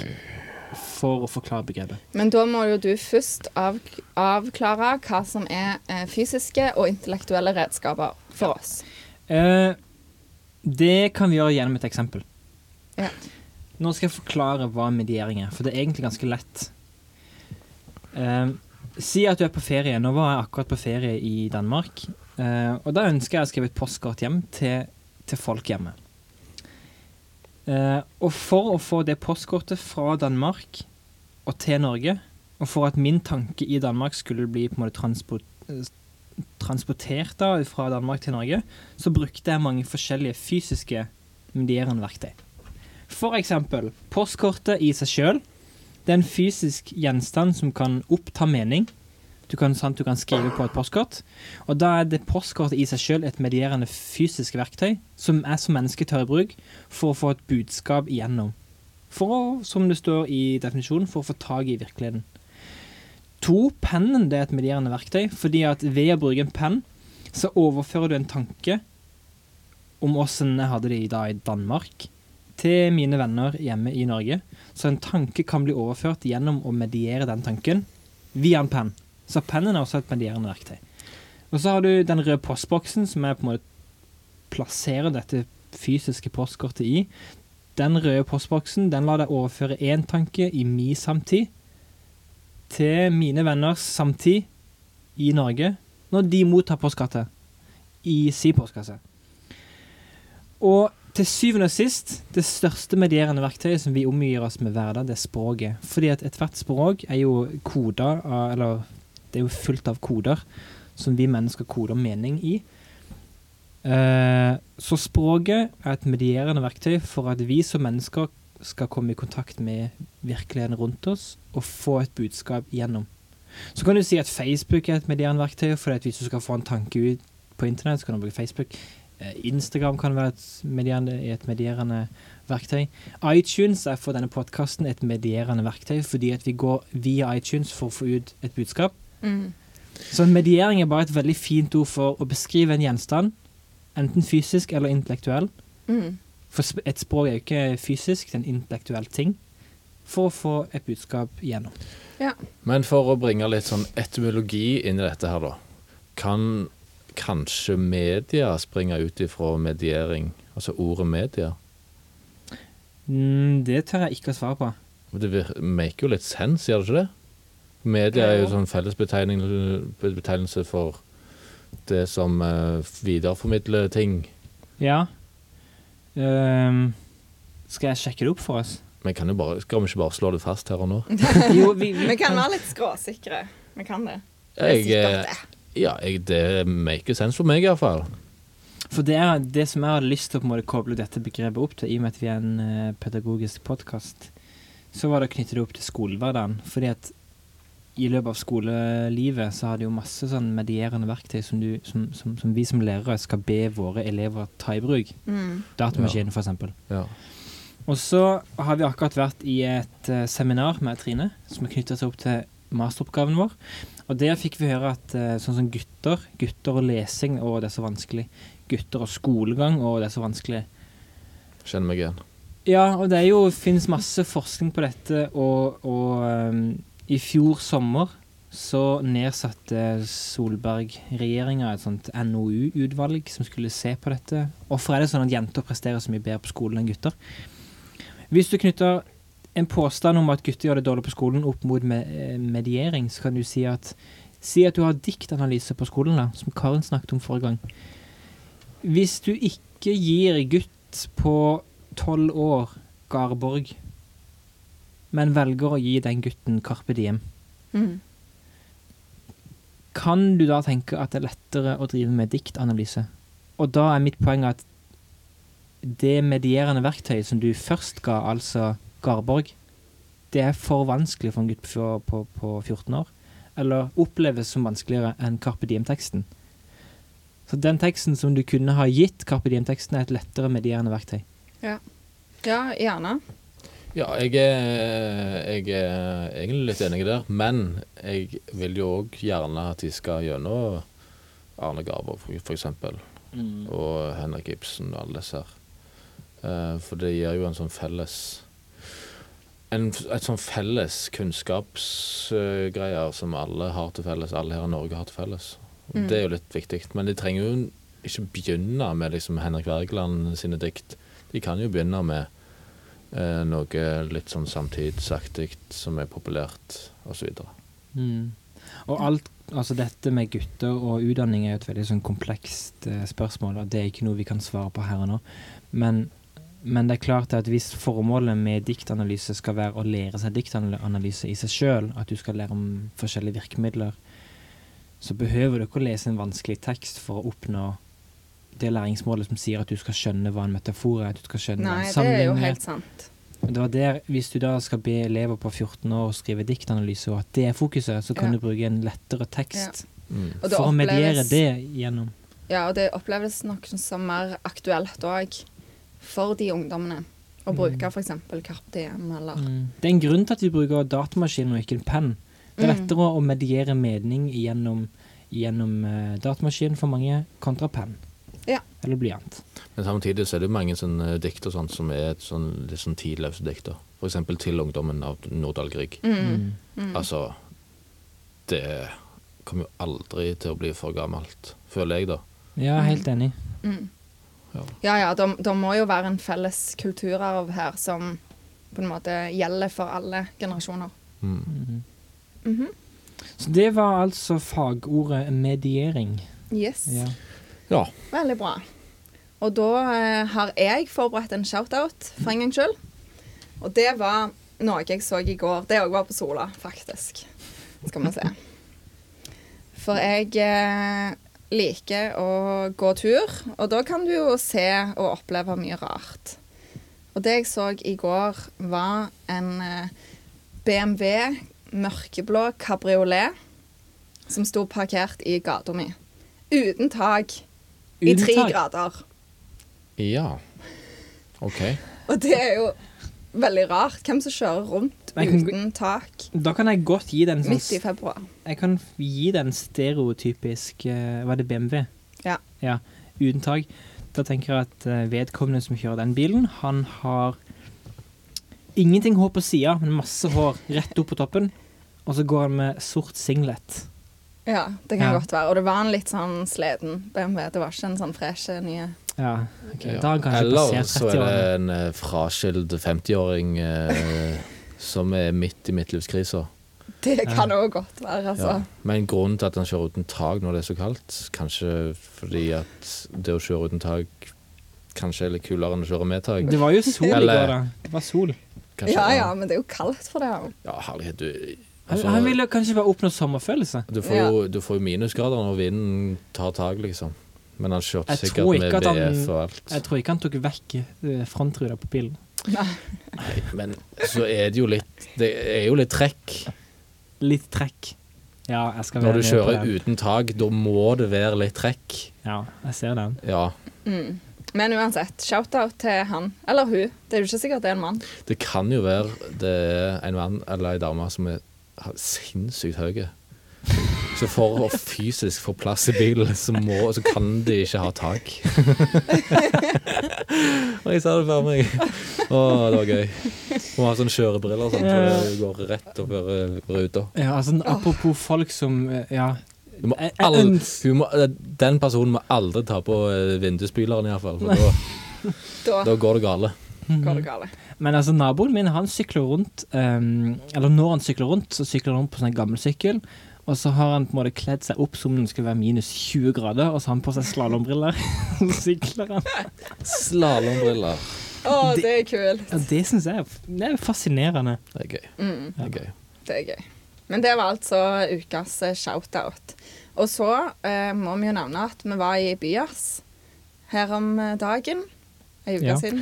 for å forklare begrepet.
Men da må jo du først av, avklare hva som er eh, fysiske og intellektuelle redskaper for oss.
Eh, det kan vi gjøre gjennom et eksempel.
Ja.
Nå skal jeg forklare hva mediering er, for det er egentlig ganske lett. Eh, si at du er på ferie. Nå var jeg akkurat på ferie i Danmark. eh, og da ønsker jeg å skrive et postkort hjem til, til folk hjemme. Eh, og for å få det postkortet fra Danmark og til Norge, og for at min tanke i Danmark skulle bli på en måte transport, eh, transportert da, fra Danmark til Norge, så brukte jeg mange forskjellige fysiske medierende-verktøy. For eksempel postkortet i seg sjøl. Det er en fysisk gjenstand som kan oppta mening. Du kan, sant, du kan skrive på et postkort. Og da er det postkortet i seg sjøl et medierende fysisk verktøy som jeg som menneske tør i bruk for å få et budskap igjennom. For å, som det står i definisjonen, for å få tak i virkeligheten. To, pennen det er et medierende verktøy, fordi at ved å bruke en penn, så overfører du en tanke om åssen jeg hadde det i dag i Danmark, til mine venner hjemme i Norge. Så en tanke kan bli overført gjennom å mediere den tanken via en penn. Så pennen er også et medierende verktøy. Og så har du den røde postboksen, som jeg på en måte plasserer dette fysiske postkortet i. Den røde postboksen den lar deg overføre én tanke i min samtid til mine venners samtid i Norge når de mottar postkasse i si postkasse. Og til syvende og sist, det største medierende verktøyet som vi omgir oss med hver dag, det er språket. Fordi at ethvert språk er jo koder av Eller det er jo fullt av koder som vi mennesker koder mening i. Eh, Så språket er et medierende verktøy for at vi som mennesker skal komme i kontakt med virkeligheten rundt oss og få et budskap gjennom. Så kan du si at Facebook er et medierende verktøy, fordi at hvis du skal få en tanke ut på internett, så kan du bruke Facebook. Eh, Instagram kan være et medierende, et medierende verktøy. iTunes er for denne podkasten et medierende verktøy, fordi at vi går via iTunes for å få ut et budskap.
Mm.
Så en mediering er bare et veldig fint ord for å beskrive en gjenstand, enten fysisk eller intellektuell.
Mm.
For sp- et språk er jo ikke fysisk, det er en intellektuell ting. For å få et budskap gjennom.
Men for å bringe litt sånn etymologi inn i dette her, da. Kan kanskje media springe ut ifra mediering, altså ordet media?
Mm, det tør jeg ikke å svare på.
Men Det vir- maker jo litt sens, gjør det ikke det? Media er jo sånn fellesbetegnelse betegnelse for det som eh, videreformidler ting.
Ja. Ehm, skal jeg sjekke det opp for oss?
Men kan jo bare, skal vi ikke bare slå det fast her og nå?
Jo, vi, vi
Vi kan være litt skråsikre. Vi kan det.
Jeg,
Det er
eh,
sikkert det.
ja, jeg, det maker sens for meg, iallfall.
For det er det som jeg hadde lyst til å på en måte koble dette begrepet opp til, i og med at vi er en eh, pedagogisk podkast, så var det å knytte det opp til skolehverdagen. Fordi at i løpet av skolelivet så har det jo masse sånn medierende verktøy som, du, som, som, som vi som lærere skal be våre elever ta i bruk.
Mm.
Datamaskinen, for eksempel.
Ja.
Og så har vi akkurat vært i et eh, seminar med Trine, som er knytta seg opp til masteroppgaven vår. Og der fikk vi høre at eh, sånn som gutter, gutter og lesing, å, det er så vanskelig. Gutter og skolegang, å, det er så vanskelig.
Kjenner meg igjen.
Ja, og det er jo, finnes masse forskning på dette, og, og ehm, i fjor sommer så nedsatte Solberg-regjeringa et sånt NOU-utvalg som skulle se på dette. Hvorfor er det sånn at jenter presterer så mye bedre på skolen enn gutter? Hvis du knytter en påstand om at gutter gjør det dårlig på skolen opp mot me eh, mediering, så kan du si at Si at du har diktanalyse på skolen, da, som Karin snakket om forrige gang. Hvis du ikke gir gutt på tolv år, Garborg, men velger å gi den gutten Carpe Diem,
Mm.
kan du da tenke at det er lettere å drive med diktanalyse? Og da er mitt poeng at det medierende verktøyet som du først ga, altså Garborg, det er for vanskelig for en gutt på, fjor- på, på 14 år. Eller oppleves som vanskeligere enn Carpe Diem-teksten. Så den teksten som du kunne ha gitt Carpe Diem-teksten, er et lettere medierende verktøy.
Ja, gjerne.
Ja, jeg er, jeg er egentlig litt enig der, men jeg vil jo òg gjerne at de skal gjennom Arne Garbo, for, for eksempel, og Henrik Ibsen og alle disse her. Eh, for det gir jo en sånn felles en, Et sånn felles kunnskapsgreier som alle har til felles, alle her i Norge har til felles. Og Det er jo litt viktig. Men de trenger jo ikke begynne med liksom Henrik Wergeland sine dikt. De kan jo begynne med eh, noe litt sånn samtidsaktig som er populært, osv.
Mm. Og alt, altså dette med gutter og utdanning er jo et veldig sånn komplekst eh, spørsmål, og det er ikke noe vi kan svare på her og nå. Men, men det er klart at hvis formålet med diktanalyse skal være å lære seg diktanalyse i seg sjøl, at du skal lære om forskjellige virkemidler, så behøver du ikke å lese en vanskelig tekst for å oppnå det læringsmålet som sier at du skal skjønne hva en metafor er, at du skal skjønne hva
Nei,
en
det er jo
sammenheng er.
helt sant.
Det var der, hvis du da skal be elever på 14 år å skrive diktanalyse, og at det er fokuset, så kan
Ja.
du bruke en lettere tekst
Mm.
Og det
for å mediere
oppleves-
det gjennom.
Ja, og det oppleves nok som mer aktuelt òg for de ungdommene. Å bruke f.eks. Carpe Diem eller
Mm. Det er en grunn til at vi bruker datamaskin og ikke en penn. Det er
Mm.
lettere å mediere mening gjennom, gjennom eh, datamaskin for mange kontra penn.
Ja.
Eller blyant.
Men samtidig så er det jo mange sånne dikt og sånt som er et sånn, litt sånn tidløse dikter. For eksempel 'Til ungdommen' av Nordahl Grieg.
Mm.
Mm,
Altså Det kommer jo aldri til å bli for gammelt, føler jeg, da.
Ja, helt
Mm.
enig.
Ja ja, det det må jo være en felles kulturarv her som på en måte gjelder for alle generasjoner.
Så det var altså fagordet mediering.
Yes.
Ja.
Ja.
Veldig bra. Og da eh, har jeg forberedt en shout-out for en gangs skyld. Og det var noe jeg så i går. Det òg var på Sola, faktisk. Skal vi se. For jeg eh, liker å gå tur, og da kan du jo se og oppleve mye rart. Og det jeg så i går, var en eh, BMW mørkeblå cabriolet som sto parkert i gata mi. Uten tak. I tre
Unntak.
grader.
Ja. OK.
Og det er jo veldig rart. Hvem som kjører rundt
Men kan-
uten tak
Da kan jeg godt gi den sånn
midt i februar?
Jeg kan gi den stereotypisk eh, Var det BMW?
Ja.
ja uten tak. Da tenker jeg at eh, vedkommende som kjører den bilen, han har ingenting hår på sida, men masse hår rett opp på toppen. Og så går han med sort singlet.
Ja, det kan
Ja.
godt være. Og det var en litt sånn sliten BMW. Det var ikke en sånn fresh nye
Ja, ok.
Ja.
Da har han kanskje
Eller
passert
så
30
er
år.
det en eh, fraskild 50-åring eh, som er midt i midtlivskrisa.
Det kan òg godt være, altså.
Ja. Men grunnen til at han kjører uten tak når det er så kaldt, kanskje fordi at det å kjøre uten tak kanskje er litt kulere enn å kjøre med tak.
Det var jo sol i
Eller-
går, da. Det var sol.
Kanskje,
Ja ja, men det er jo kaldt for det. her.
Ja, herlighet, du
Han,
altså,
han ville kanskje bare oppnå sommerfølelse.
du, får jo, du får jo minusgrader når vinden tar tak, liksom. Men han kjørte
Jeg tror
sikkert med
ikke at han-
BF og alt.
Jeg tror ikke han tok vekk eh, frontruta på bilen.
Men så er det jo litt Det er jo litt trekk.
Litt trekk. Ja, jeg skal
Når
være
du
med på
kjører
den.
uten tak, da må det være litt trekk.
Ja, jeg ser den.
Ja.
Men uansett, shout-out til han. Eller hun. Det er jo ikke sikkert det er en mann.
Det kan jo være det er en mann eller en dame som er har sinnssykt høye. Så for å fysisk få plass i bilen, så, må, så kan de ikke ha tak. Og jeg sa det for meg. Å, det var gøy. Må ha sånne kjørebriller sånn, for det går rett over eh, ruta.
Ja, altså Apropos folk som eh, Ja.
Du må
Jeg- jeg
aldri,
øns-
hun må, den personen må aldri ta på eh, vindusspyleren, iallfall. For da,
Da
da går det gale.
går det galt.
Men altså, naboen min, han sykler rundt ehm, Eller når han sykler rundt, så sykler han rundt på sånn en gammel sykkel. Og så har han på en måte kledd seg opp som om det skulle være minus 20 grader, og så har han på seg slalåmbriller. Så sykler han.
Slalåmbriller.
Å,
Mm.
det er kult.
Ja, det syns jeg er f- det er fascinerende.
Det er gøy.
Mm.
Det er gøy.
Det er gøy. Men det var altså ukas eh, shout-out. Og så eh, må vi jo nevne at vi var i Byas her om eh, dagen, ei uke
Ja.
siden.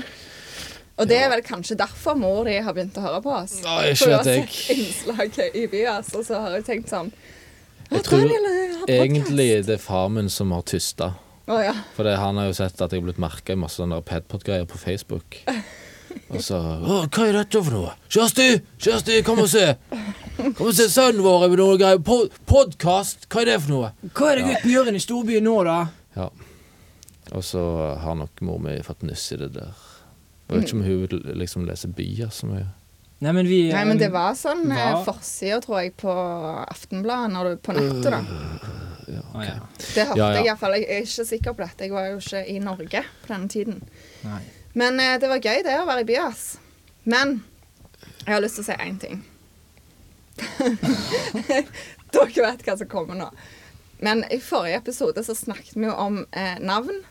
Og det er vel kanskje derfor mor di har begynt å høre på oss.
Nei, ikke
For hun har
at jeg-
sett innslaget i Byas, og så har hun tenkt sånn Å,
Jeg tror
Daniel eh, har
Egentlig
podkast!
det er far min som har tysta.
Å ja.
For det, han har jo sett at jeg har blitt merka i masse sånne der Padpod-greier på Facebook. Og så Å, 'Hva er dette for noe?' 'Kjersti! Kjersti, kom og se!' 'Kom og se sønnen vår med noe greier. Po Podkast! Hva er det for noe?'
Hva er det gutten gjør i storbyen nå, da?
Ja. Og så har nok mor mi fått nyss i det der. Jeg vet ikke om hun vil liksom lese byer så mye.
Nei, men vi
Nei, men det var sånn eh,
Hva?
forsida, tror jeg, på Aftenbladet når du, på nettet, da.
Å, ja.
Det hørte
Øh. Ja, ja.
jeg iallfall. Jeg er ikke sikker på dette. Jeg var jo ikke i Norge på denne tiden.
Nei.
Men eh, det var gøy, det, å være i Byas. Men jeg har lyst til å si én ting. Dere vet hva som kommer nå. Men i forrige episode så snakket vi jo om eh, navn.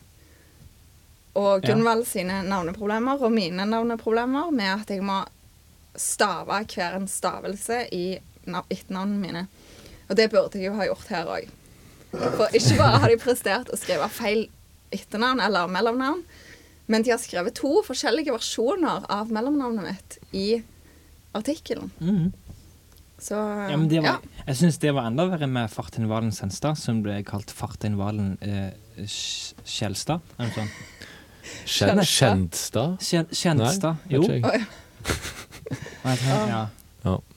Og
Ja.
Gunvald sine navneproblemer og mine navneproblemer med at jeg må stave hver en stavelse i na- etternavnene mine. Og det burde jeg jo ha gjort her òg. For ikke bare har de prestert å skrive feil etternavn eller mellomnavn, men de har skrevet to forskjellige versjoner av mellomnavnet mitt i artikkelen.
Mhm.
Så
Ja, men det
ja.
var, jeg syns det var enda verre med Fartein Valen Senstad, som ble kalt Fartein Valen eh, Skj- Skjelstad. eller noe sånt.
Kjen-
Kjennestad.
Kjendstad?
Skjen- Skjenstad.
Nei,
Jo.
vet ikke jeg.
Nei, det- Ja.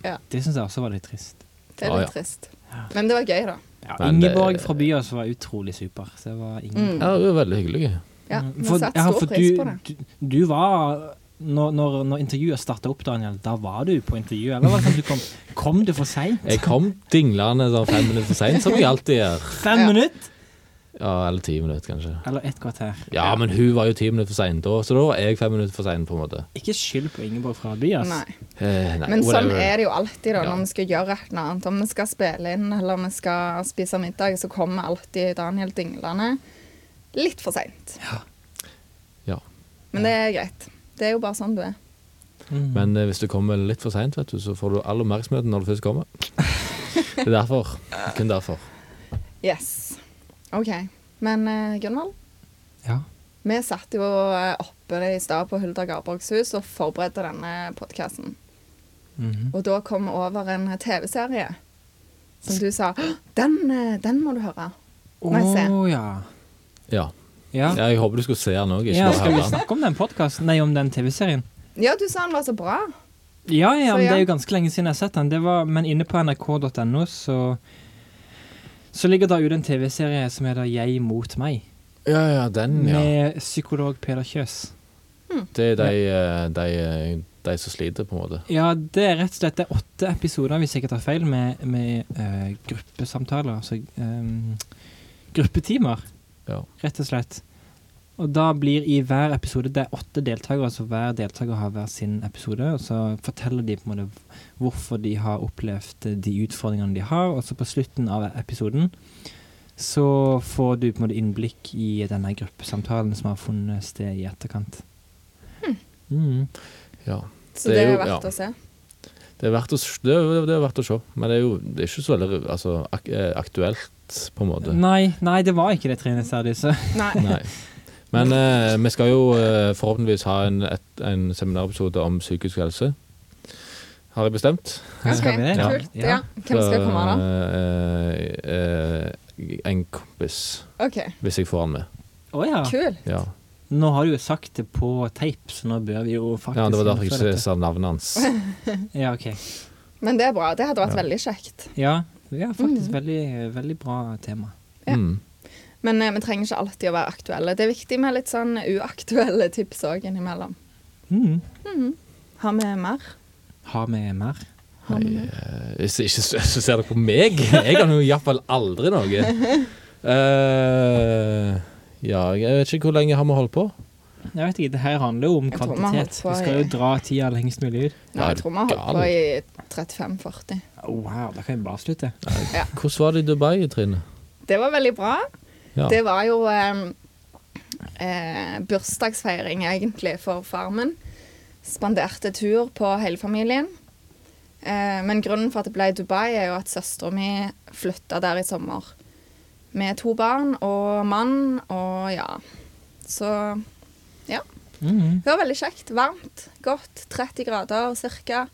Ja.
Det syns jeg også var litt trist.
Det er
Ah,
litt
ja.
trist. Men det var gøy, da.
Ja,
Men det-
Ingeborg fra Byås var utrolig super. Så det var ingen
Mm.
Ja, det var veldig hyggelig.
Ja,
Mm,
vi
for-
satte
ja,
stor
for
pris
du-
på det.
Du, du var når, når, når intervjuet starta opp, Daniel, da var du på intervju? Eller var det sånn at du kom, kom du for seint?
Jeg kom dinglende sånn fem minutter for seint, som jeg alltid gjør.
Fem
Ja.
minutter?
Ja, Eller ti minutter, kanskje.
Eller et kvarter.
Ja, men hun var jo ti minutter for sein da, så da var jeg fem minutter for sein, på en måte.
Ikke skyld på Ingeborg fra Byas.
Nei.
Eh, nei,
Men sånn
whatever.
er det jo alltid da,
Ja.
når vi skal gjøre et eller annet. Om vi skal spille inn eller om vi skal spise middag, så kommer alltid Daniel dinglende litt for seint.
Ja.
Men det er greit. Det er jo bare sånn du er.
Mm.
Men eh, hvis du kommer litt for seint, vet du, så får du all oppmerksomheten når du først kommer. Det er derfor. Kun derfor.
Yes. OK. Men eh, Gunvald,
Ja.
vi satt jo eh, oppe i stad på Hulda Garborgs hus og forberedte denne podkasten.
Mhm.
Og da kom vi over en TV-serie som du sa «Hå, den, eh, den må du høre.
Å
Nei, se.
ja.
Ja.
Ja.
ja jeg håper du skulle se den òg, ikke
ja.
bare
Skal vi
høre den.
snakke om den podkasten? Nei, om den TV-serien?
Ja, du sa den var så bra.
Ja, ja,
Så
men
ja.
det er jo ganske lenge siden jeg har sett den. Det var, men inne på nrk.no så, så ligger der ute en TV-serie som heter Jeg mot meg,
Ja, ja, den, Mm. ja.
med psykolog Peder Kjøs.
Det er de, eh, de, eh, de som sliter, på en måte.
Ja, det er rett og slett det er åtte episoder, hvis jeg ikke tar feil, med, med eh, gruppesamtaler. Altså ehm, gruppetimer,
Ja.
rett og slett. Og da blir i hver episode Det er åtte deltakere, så hver deltaker har hver sin episode. Og så forteller de på en måte hvorfor de har opplevd de utfordringene de har. Og så på slutten av episoden så får du på en måte innblikk i denne gruppesamtalen som har funnet sted i etterkant. Mm.
Ja.
Så
Det
det
er
er,
jo-
verdt
ja.
å se.
Det er verdt å, s- det er, det er verdt å se, men det er jo det er ikke så veldig altså, ak eh, aktuelt, på en måte.
Nei, nei, det var ikke det Trine Særlig. Så.
Nei.
Nei. Men eh, vi skal jo eh, forhåpentligvis ha en, et, en seminarepisode om psykisk helse. Har jeg bestemt.
Ok,
Skal vi det? Ja.
Kult. Ja. Hvem skal komme da?
da? eh, en kompis,
OK,
hvis jeg får han med.
Å ja.
kul.
Ja,
Nå har du jo sagt det på teip, så nå bør vi jo faktisk
ja Det var derfor jeg
innføre
ikke sa navnet hans.
dette. Ja, ok.
Men det er bra. Det hadde vært
Ja.
veldig kjekt.
Ja, vi har
Mm.
faktisk veldig, veldig bra tema.
Ja.
Mm.
Men eh, vi trenger ikke alltid å være aktuelle. Det er viktig med litt sånn uaktuelle tips òg innimellom.
Mm.
Har vi mer?
Har vi mer?
Har vi mer?
Eh, Hvis ikke så så ser dere på meg. Jeg kan jo iallfall aldri noe. Eh, ja, jeg vet ikke hvor lenge har vi holdt på?
Jeg vet ikke, det her handler jo om
Jeg tror vi har
kvantitet.
holdt på
Vi skal jo
i-
dra tida lengst mulig ut.
Nei, jeg tror vi har holdt på i 35-40.
Wow, da kan vi bare slutte.
Hvordan var det i Dubai, Trine?
Det var veldig bra.
Ja.
Det var jo eh, eh, bursdagsfeiring, egentlig, for far min. Spanderte tur på hele familien. Eh, men grunnen for at det ble Dubai, er jo at søstera mi flytta der i sommer. Med to barn og mann og ja. Så ja.
Mhm.
Det var veldig kjekt. Varmt, godt. 30 grader ca.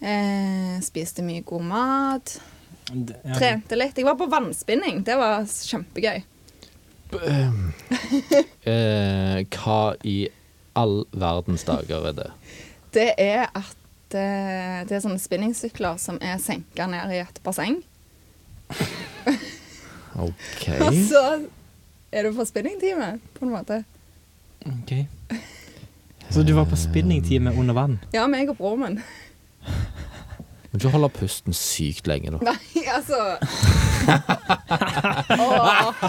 Eh, spiste mye god mat.
Det- ja.
Trente litt. Jeg var på vannspinning. Det var kjempegøy.
Eh, hva i all verdens dager er det?
Det er at eh, det er sånne spinningsykler som er senka ned i et basseng.
OK.
Og så er du på spinningtime, på en måte.
Ok. Så du var på spinningtime under vann?
Ja, meg og broren min.
Må ikke holde pusten sykt lenge, da.
Nei, altså Åh,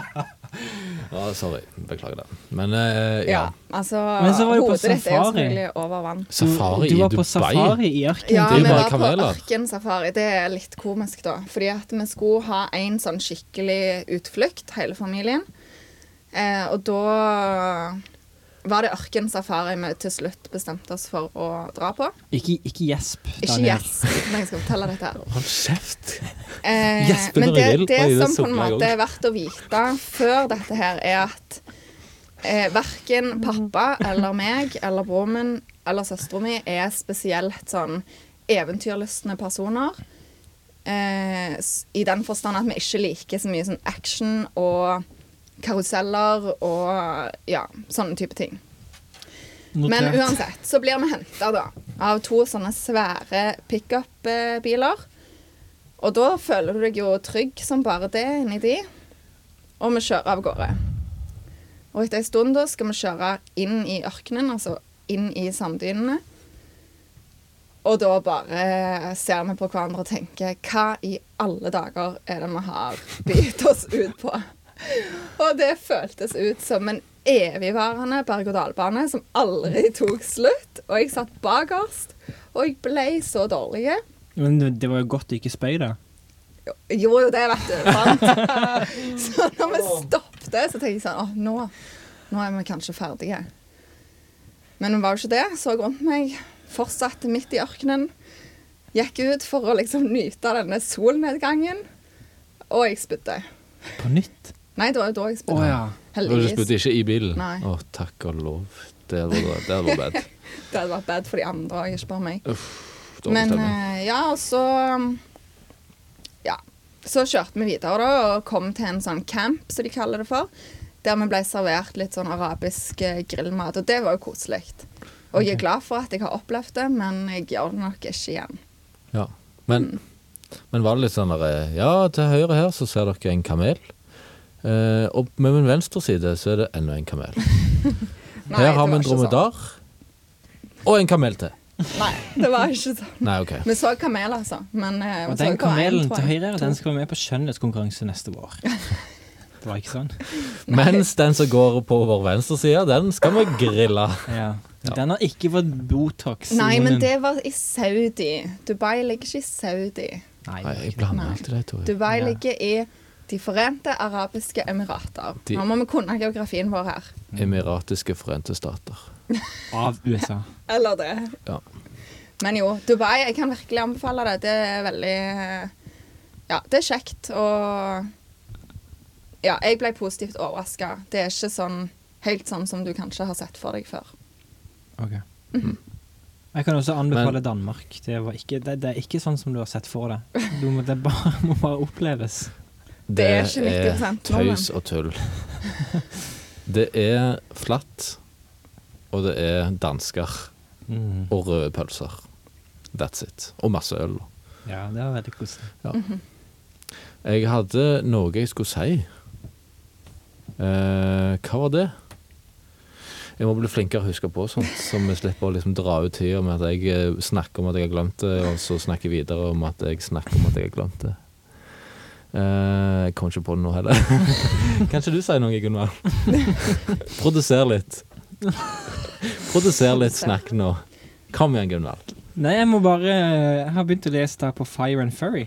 Ja, sorry. Beklager det. Men eh, ja.
ja, altså
Men så var du på
Hodet ditt er jo
safari.
selvfølgelig over vann.
Safari
du, du
i
var på
Dubai.
safari i ørkenen.
Ja,
det er jo
vi
bare
var på
kameler.
ørkensafari. Det er litt komisk, da. Fordi at vi skulle ha en sånn skikkelig utflukt, hele familien. Eh, og da var det ørkensafari vi til slutt bestemte oss for å dra på.
Ikke, ikke gjesp,
Ikke
Daniel.
yes, men jeg skal fortelle dette her.
Hold kjeft!
Eh,
Gjesper
men
når
det,
jeg vil.
det
Oi, det
som på en
sovner jeg
måte er verdt å vite før dette her, er at eh, verken pappa eller meg eller broren min eller søstera mi er spesielt sånn eventyrlystne personer. Eh, s- I den forstand at vi ikke liker så mye sånn action og karuseller og ja, sånne type ting. Men
Notert.
uansett, så blir vi henta da av to sånne svære pickup-biler. Og da føler du deg jo trygg som bare det inni de. Og vi kjører av gårde. Og etter en stund da skal vi kjøre inn i ørkenen, altså inn i sanddynene. Og da bare ser vi på hverandre og tenker Hva i alle dager er det vi har begitt oss ut på? Og det føltes ut som en evigvarende berg-og-dal-bane som aldri tok slutt. Og jeg satt bakerst, og jeg ble så dårlig.
Men det- det var jo godt du ikke spøy, da.
Jo, jo, det vet du. Sant? Så når vi stoppet, så tenkte jeg sånn Å, nå, nå er vi kanskje ferdige. Men vi var jo ikke det. Så rundt meg. Fortsatte midt i ørkenen. Gikk ut for å liksom nyte av denne solnedgangen. Og jeg spydde.
På nytt.
Nei, det var jo da jeg
Å
spydde.
ja.
Og du spydde
Heldigvis.
ikke i bilen?
Nei.
Å, takk og lov. Det var, det var bad.
Det hadde vært bad for de andre òg, ikke bare meg.
Dårlig
Men
stemning.
eh, ja, og så um, Ja. Så kjørte vi videre da, og kom til en sånn camp, som de kaller det for. Der vi ble servert litt sånn arabisk eh, grillmat, og det var jo koselig. Og jeg er glad for at jeg har opplevd det, men jeg gjør det nok ikke igjen.
Ja. Men, men var det litt sånn der Ja, til høyre her så ser dere en kamel. Eh, og med min venstre side så er det enda en kamel.
Nei,
Her
det
har vi
var
en
ikke sånn.
dromedar. Og en kamel til.
Nei, det var ikke sånn.
Nei, OK.
Vi så kamel, altså. Men eh, vi
Og
så
den
ikke bare en,
kamelen
tror
til
jeg.
høyre den skal være med på skjønnhetskonkurranse neste vår. Det var ikke sånn?
Mens den som går på vår venstre side, den skal vi grille.
Ja. Den har ikke fått Botox i
Nei,
munnen.
men det var i Saudi. Dubai ligger ikke i Saudi.
Nei,
Nei, jeg
ikke det.
blander alltid de to.
Dubai
Ja.
ligger i De forente arabiske emirater.
De-
Nå må vi kunne geografien vår her.
Emiratiske forente stater.
Av USA.
Eller det.
Ja.
Men jo, Dubai, jeg kan virkelig anbefale det. Det er veldig eh, Ja, det er kjekt og Ja, jeg ble positivt overraska. Det er ikke sånn helt sånn som du kanskje har sett for deg før.
Ok.
Mhm.
Mm. Jeg kan også anbefale Danmark. Det, var ikke, det, det er ikke sånn som du har sett for deg. Du må, det bare, må bare oppleves.
Det er ikke 90% nordmenn.
tøys og tull. Det er flatt, og det er dansker
Mm.
og røde pølser. That's it. Og masse øl.
Ja, det var veldig koselig.
Jeg hadde noe jeg skulle si. Eh, hva var det? Jeg må bli flinkere å huske på sånt, så vi slipper å liksom dra ut tida med at jeg eh, snakker om at jeg har glemt det, og så snakker jeg videre om at jeg snakker om at jeg har glemt det. Eh, jeg kom ikke på det nå heller. Kanskje du sier noe, Gunvor? Produser litt. Produser litt snakk nå. Kom igjen, Gunvor.
Nei, jeg må bare Jeg har begynt å lese der på Fire and Furry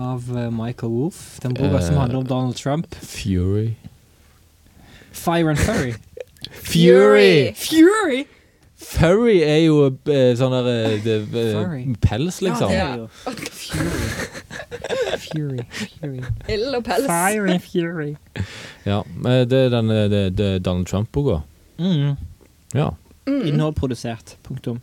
av eh, Michael Wolff. Den boka som
Eh.
handler om Donald Trump.
Fury.
Fire and Furry.
Fury!
Fury!
Furry er jo eh, sånn der eh, det, eh,
Furry.
pels, liksom.
Ja, det er jo. Fury. Fury. Fury.
Ild og pels.
Fire and Fury.
Ja, eh, det er den eh, det, det er Donald Trump-boka.
Mm.
Ja.
Innhold produsert. Punktum.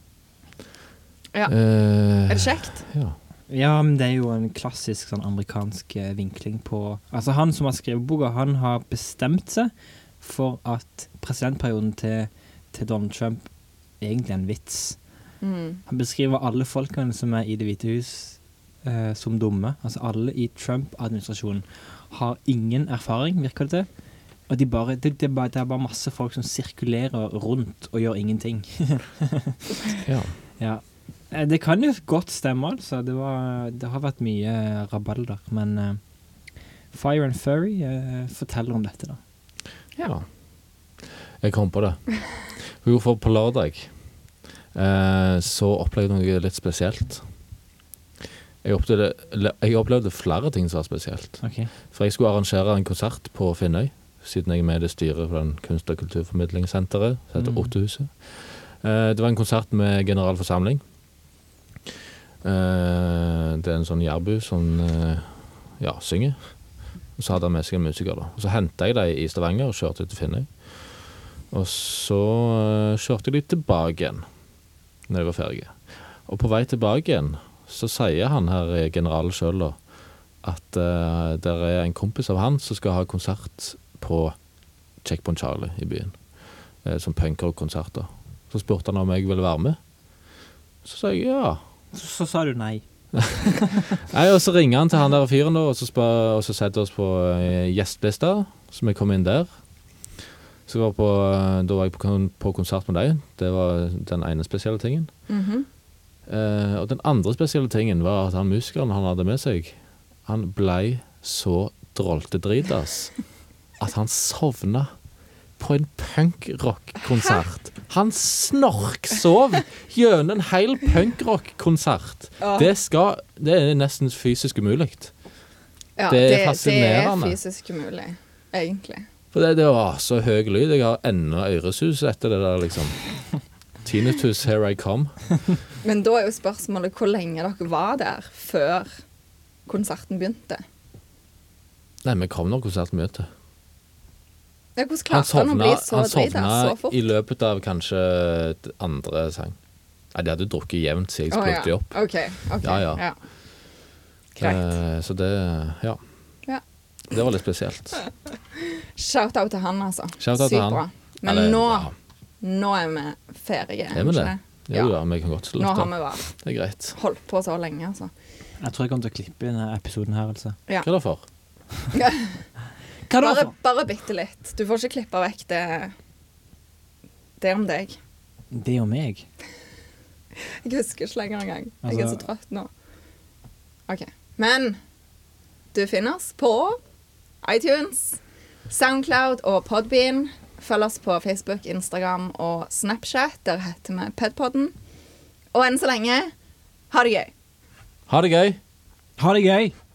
Ja.
Eh,
Er det kjekt?
ja.
Ja, men det er jo en klassisk sånn amerikansk eh, vinkling på Altså, han som har skrevet boka, han har bestemt seg for at presidentperioden til, til Donald Trump egentlig er en vits.
Mm.
Han beskriver alle folkene som er i Det hvite hus eh, som dumme. Altså alle i Trump-administrasjonen har ingen erfaring, virker det til. Og de bare, det, det, er bare, det er bare masse folk som sirkulerer rundt og gjør ingenting.
ja.
Ja. Eh, Det kan jo godt stemme, altså. Det, var, det har vært mye rabalder. Men eh, Fire and Furry eh, forteller om dette, da.
Ja. Jeg kom på det. Jo, for på lørdag eh, så opplevde jeg noe litt spesielt. Jeg opplevde, jeg opplevde flere ting som var spesielt.
Ok.
For jeg skulle arrangere en konsert på Finnøy, siden jeg er med i det styret på den kunst- og kulturformidlingssenteret som heter
Mm.
Ottehuset. Eh, det var en konsert med generalforsamling. Eh, det er en sånn jærbu som eh, ja, synger. Og så hadde han med seg en musiker. da. Og Så henta jeg dem i Stavanger og kjørte til Finnøy. Og så eh, kjørte jeg dem tilbake igjen når jeg var ferdig. Og på vei tilbake igjen så sier han her eh, generalen sjøl da at uh, det er en kompis av han som skal ha konsert på Checkpoint Charlie i byen. eh, som punkerkonserter. Så spurte han om jeg ville være med. Så sa jeg ja.
Så, så sa du nei.
Nei, og så ringer han til han der fyren da, og så, spør, og så setter oss på eh, gjestelista, så vi kom inn der. Så vi var på, eh, da var jeg på, kon på konsert med deg. Det var den ene spesielle tingen. Eh, og den andre spesielle tingen var at han musikeren han hadde med seg, han blei så drollte dritas at han sovna på en punkrock-konsert. Han snorksov gjennom en hel punkrock-konsert.
Ja.
Det, skal- det er nesten fysisk umulig.
Ja,
Det er
Det
fascinerende.
er fysisk umulig, egentlig.
For det, det var så høy lyd. Jeg har ennå øresus etter det der, liksom. Tinnitus, here I come.
Men da er jo spørsmålet hvor lenge dere var der før konserten begynte.
Nei, vi kom når konserten begynte.
Ja, hvordan
Han
klarte han, å
sovna,
bli så
han
drita så
sovna
fort?
i løpet av kanskje et andre sang. Nei, de hadde drukket jevnt siden jeg
Å, ja.
plukket de opp.
OK. ok,
Ja, ja.
Greit.
Eh, Så det Ja.
Ja.
Det var litt spesielt.
Shout-out til han, altså.
Shout-out til han.
bra. Men
Eller,
nå,
ja.
nå er vi ferdige.
Er vi det? Jo
Ja.
da, vi kan godt
Nå har
slutte.
vi vært
Det er greit.
holdt på så lenge, altså.
Jeg tror jeg kommer til å klippe denne episoden her, altså.
Ja.
Hva er det for?
Hva da?
Bare,
for?
bare bitte litt. Du får ikke klippe vekk det Det om deg.
Det er jo meg.
Jeg husker ikke lenger engang. Jeg er
Altså-
så trøtt nå. OK. Men du finner oss på iTunes, Soundcloud og Podbean. Følg oss på Facebook, Instagram og Snapchat. Der heter vi Pedpodden. Og enn så lenge, ha det gøy.
Ha det gøy.
Ha det gøy!